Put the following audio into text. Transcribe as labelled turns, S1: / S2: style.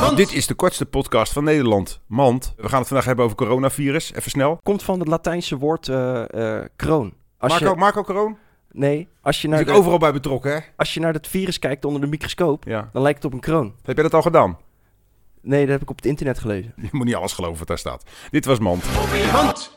S1: Want dit is de kortste podcast van Nederland. Mand, we gaan het vandaag hebben over coronavirus. Even snel.
S2: Komt van het Latijnse woord eh, eh, kroon. Als
S1: Marco,
S2: je,
S1: Marco Kroon?
S2: nee, als je, naar
S1: Natuurlijk
S2: de,
S1: overal bij betrokken, hè?
S2: als je naar het virus kijkt onder de microscoop,
S1: Ja.
S2: dan lijkt het op een kroon.
S1: Heb jij dat al gedaan?
S2: Nee, dat heb ik op het internet gelezen.
S1: Je moet niet alles geloven wat daar staat. Dit was Mand.